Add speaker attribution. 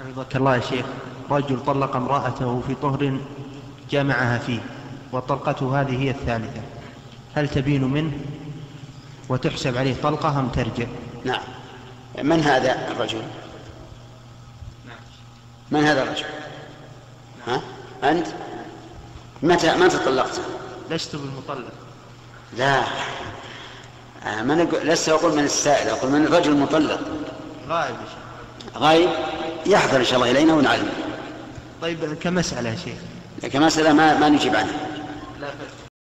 Speaker 1: حفظك الله يا شيخ رجل طلق امرأته في طهر جامعها فيه وطلقته هذه هي الثالثة هل تبين منه وتحسب عليه طلقة أم ترجع
Speaker 2: نعم من هذا الرجل من هذا الرجل ها أنت متى متى طلقت
Speaker 1: لست بالمطلق
Speaker 2: لا آه، من أقول- لست أقول من السائل أقول من الرجل المطلق
Speaker 1: غائب يا شيخ
Speaker 2: غايب يحضر إن شاء الله إلينا ونعلم
Speaker 1: طيب كمسألة يا شيخ
Speaker 2: لكن مسألة ما, ما نجيب عنها
Speaker 1: لا بأس